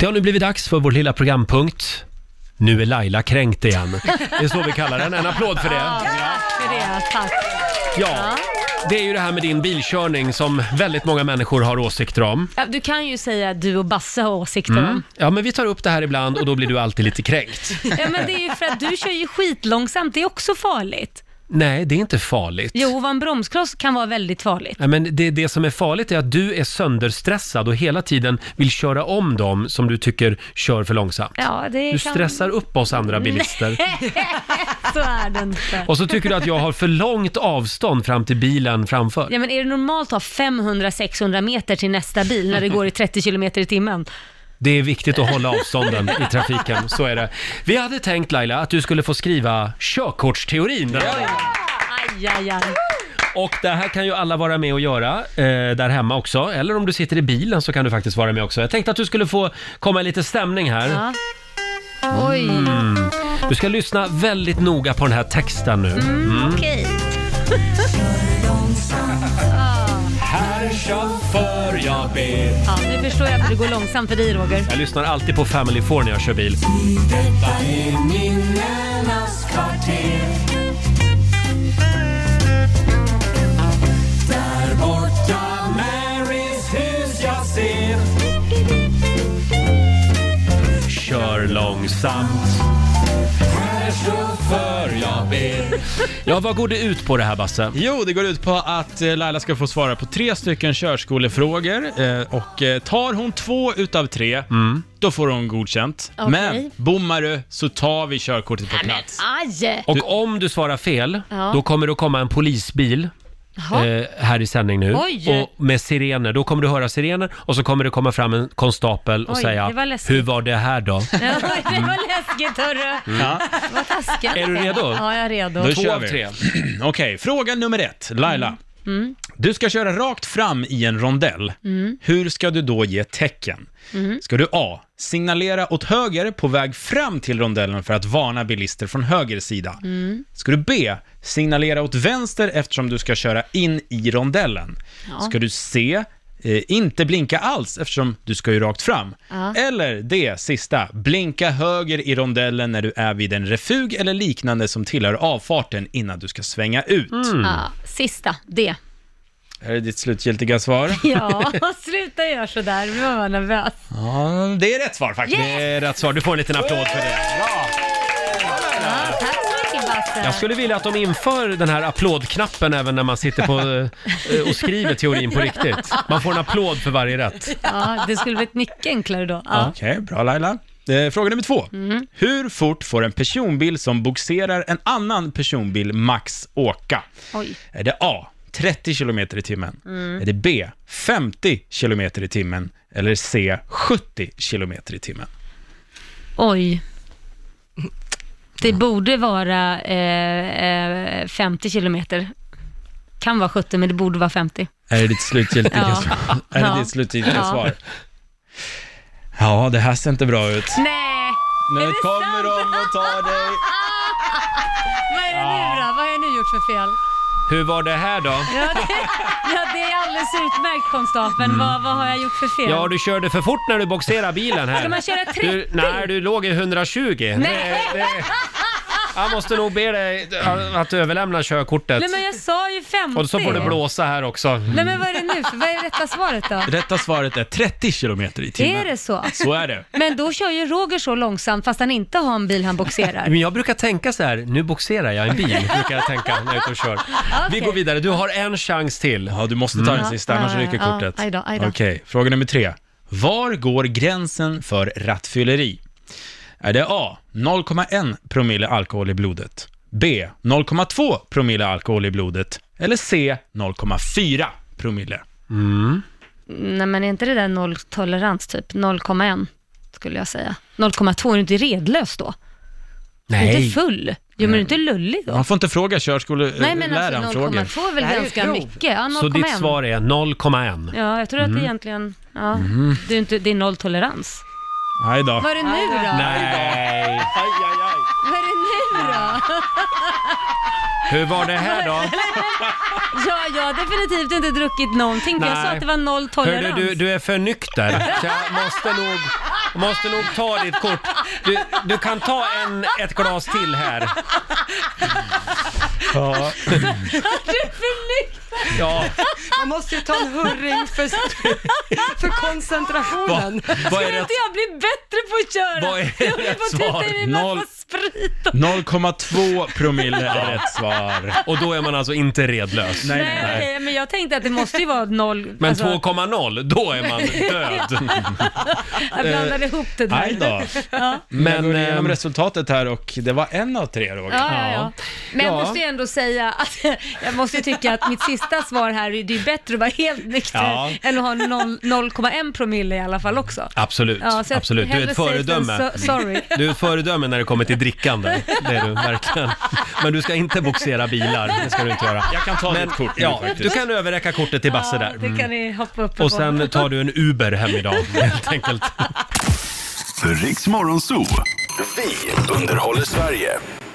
Det har nu blivit dags för vår lilla programpunkt. Nu är Laila kränkt igen. Det är så vi kallar den. En applåd för det. Ja, för det. Tack. Ja, det är ju det här med din bilkörning som väldigt många människor har åsikter om. Ja, Du kan ju säga att du och Basse har åsikter om. Ja, men vi tar upp det här ibland och då blir du alltid lite kränkt. Ja, men det är ju för att du kör ju skitlångsamt, det är också farligt. Nej, det är inte farligt. Jo, vad en bromskloss kan vara väldigt farligt. Nej, men det, det som är farligt är att du är sönderstressad och hela tiden vill köra om dem som du tycker kör för långsamt. Ja, det Du kan... stressar upp oss andra bilister. Så är det inte. Och så tycker du att jag har för långt avstånd fram till bilen framför. Ja, men är det normalt att ha 500-600 meter till nästa bil när det går i 30 kilometer i timmen? Det är viktigt att hålla avstånden i trafiken, så är det. Vi hade tänkt Laila att du skulle få skriva körkortsteorin den här gången. Aj, aj, aj. Och det här kan ju alla vara med och göra eh, där hemma också. Eller om du sitter i bilen så kan du faktiskt vara med också. Jag tänkte att du skulle få komma i lite stämning här. Ja. Oj, Du ska lyssna väldigt noga på den här texten nu. okej. Herr chaufför, jag ber. Ja, nu förstår jag att det går långsamt för dig, Roger. Jag lyssnar alltid på Family Four när jag kör bil. Kör långsamt. Herr chaufför, jag ber. Ja, vad går det ut på det här Basse? Jo, det går ut på att eh, Laila ska få svara på tre stycken körskolefrågor eh, och eh, tar hon två utav tre, Mm. då får hon godkänt. Okej. Men bommar du så tar vi körkortet på plats. Aj! Och om du svarar fel, Ja. då kommer det att komma en polisbil Jaha. eh, här i sändning nu. Oj. Och med sirener. Då kommer du höra sirener och så kommer det komma fram en konstapel och Oj, säga det var läskigt. Hur var det här då? Ja, det var läskigt, hörru. Ja. Vad taskigt. Mm. Är du redo? Ja, jag är redo. Då Två kör av vi. tre. Okej, fråga nummer ett. Laila. Du ska köra rakt fram i en rondell. Hur ska du då ge tecken? Ska du A. Signalera åt höger på väg fram till rondellen för att varna bilister från höger sida. Ska du B. Signalera åt vänster eftersom du ska köra in i rondellen. Ska du C. Eh, inte blinka alls eftersom du ska ju rakt fram. Ja. Eller det sista, blinka höger i rondellen när du är vid en refug eller liknande som tillhör avfarten innan du ska svänga ut. Ja, sista, det. Här är ditt slutgiltiga svar. Ja, sluta göra sådär. Nu var jag nervös. Ja, det är rätt svar faktiskt. Yes! Det är Eh, rätt svar. Du får en liten applåd för det. Ja, tack så mycket, Jag Basse. skulle vilja att de inför den här applådknappen även när man sitter på, eh, och skriver teorin på riktigt. Man får en applåd för varje rätt. Ja, det skulle blivit mycket enklare då. Ja. Mm. Okej, bra Laila. Eh, fråga nummer två. Hur fort får en personbil som boxerar en annan personbil max åka? Oj. Är det A. 30 km i timmen? Mm. Är det B. 50 km i timmen? Eller C. 70 km i timmen? Oj. Det borde vara eh, eh, 50 kilometer. Kan vara 70, men det borde vara 50. Är det ditt slutgiltiga Ja. svar? Är det Ja. ditt slutgiltiga Ja. svar? Ja, det här ser inte bra ut. Nej! Nu det kommer sant? de och tar dig. Vad är det nu då? Vad har jag nu gjort för fel? Hur var det här då? Ja, det, ja, det är alldeles utmärkt, konstapeln. Vad, vad har jag gjort för fel? Mm. Ja, du körde för fort när du boxerade bilen här. Ska man köra 30? Du, nej, du låg i 120. Nej. Det- det- Jag måste nog be dig att överlämna körkortet. Nej, men jag sa ju 50. Och så får du blåsa här också. Nej, men vad är det nu? för- Vad är rätta svaret då? Rätta svaret är 30 km i timmen. Är det så? Så är det. Men då kör ju Roger så långsamt fast han inte har en bil han boxerar. Men jag brukar tänka så här, nu boxerar jag en bil, brukar jag tänka när jag är ute och kör. Vi Okej. går vidare, du har en chans till. Ja, du måste ta den Mm. Ja, sista, annars ja, ryker ja, kortet. aj då, aj då. Okej, fråga nummer tre. Var går gränsen för rattfylleri? Är det A. 0,1 promille alkohol i blodet? B. 0,2 promille alkohol i blodet? Eller C. 0,4 promille? Nej men är inte det där nolltolerans typ? 0,1 skulle jag säga. 0,2, är du inte redlös då? Är du inte full? Jo men är du inte lullig då? Man får inte fråga Nej men körskoleläraren alltså frågor. 0,2 är väl Det här är ju ganska prov. mycket? Ja, 0,1. Så ditt svar Mm. är 0,1. Mm. Ja, jag tror att det egentligen, ja, det, är inte, det är nolltolerans. Aj då. Vad är det nu då? Nej. Vad är det nu då? Hur var det här då? Ja, jag har definitivt inte druckit någonting. för Jag sa Nej. att det var noll Hörde, tolerans. du, du är för nykter. Så jag måste nog, måste nog ta ditt kort. Du, du kan ta en, ett glas till här. Ja. ja. Man måste ju ta en hurring för, för koncentrationen. Vad är Skulle rätt, inte jag bli bättre på att köra? vad Jag är håller på rätt att titta svar? i min Noll. massa sprit. och- 0,2 promille är rätt svar. Och då är man alltså inte redlös. Nej, Nej, okej, men jag tänkte att det måste ju vara noll. Men alltså, 2,0, då är man död. jag blandade eh, ihop det där. Aj då. Men jag Men, går igenom ehm, resultatet här och det var en av tre Roger. Ja, ja, ja. Men jag Ja. måste ju ändå säga att jag måste ju tycka att mitt sista svar här, är- det är ju bättre att vara helt nykter Ja. än att ha noll- 0,1 promille i alla fall också. Absolut, Ja, så jag- absolut. Du är hellre ett safe föredöme. than so- sorry. Du är ett föredöme när det kommer till drickande. Det är du verkligen. Men du ska inte boxera bilar, det ska du inte göra. Jag kan ta Men, ditt kort nu ja, faktiskt. du kan överräcka kortet till Basse där. Mm. det kan ni hoppa upp Och på. sen tar du en Uber hem idag, helt enkelt. Riks Morgonzoo. Vi underhåller Sverige.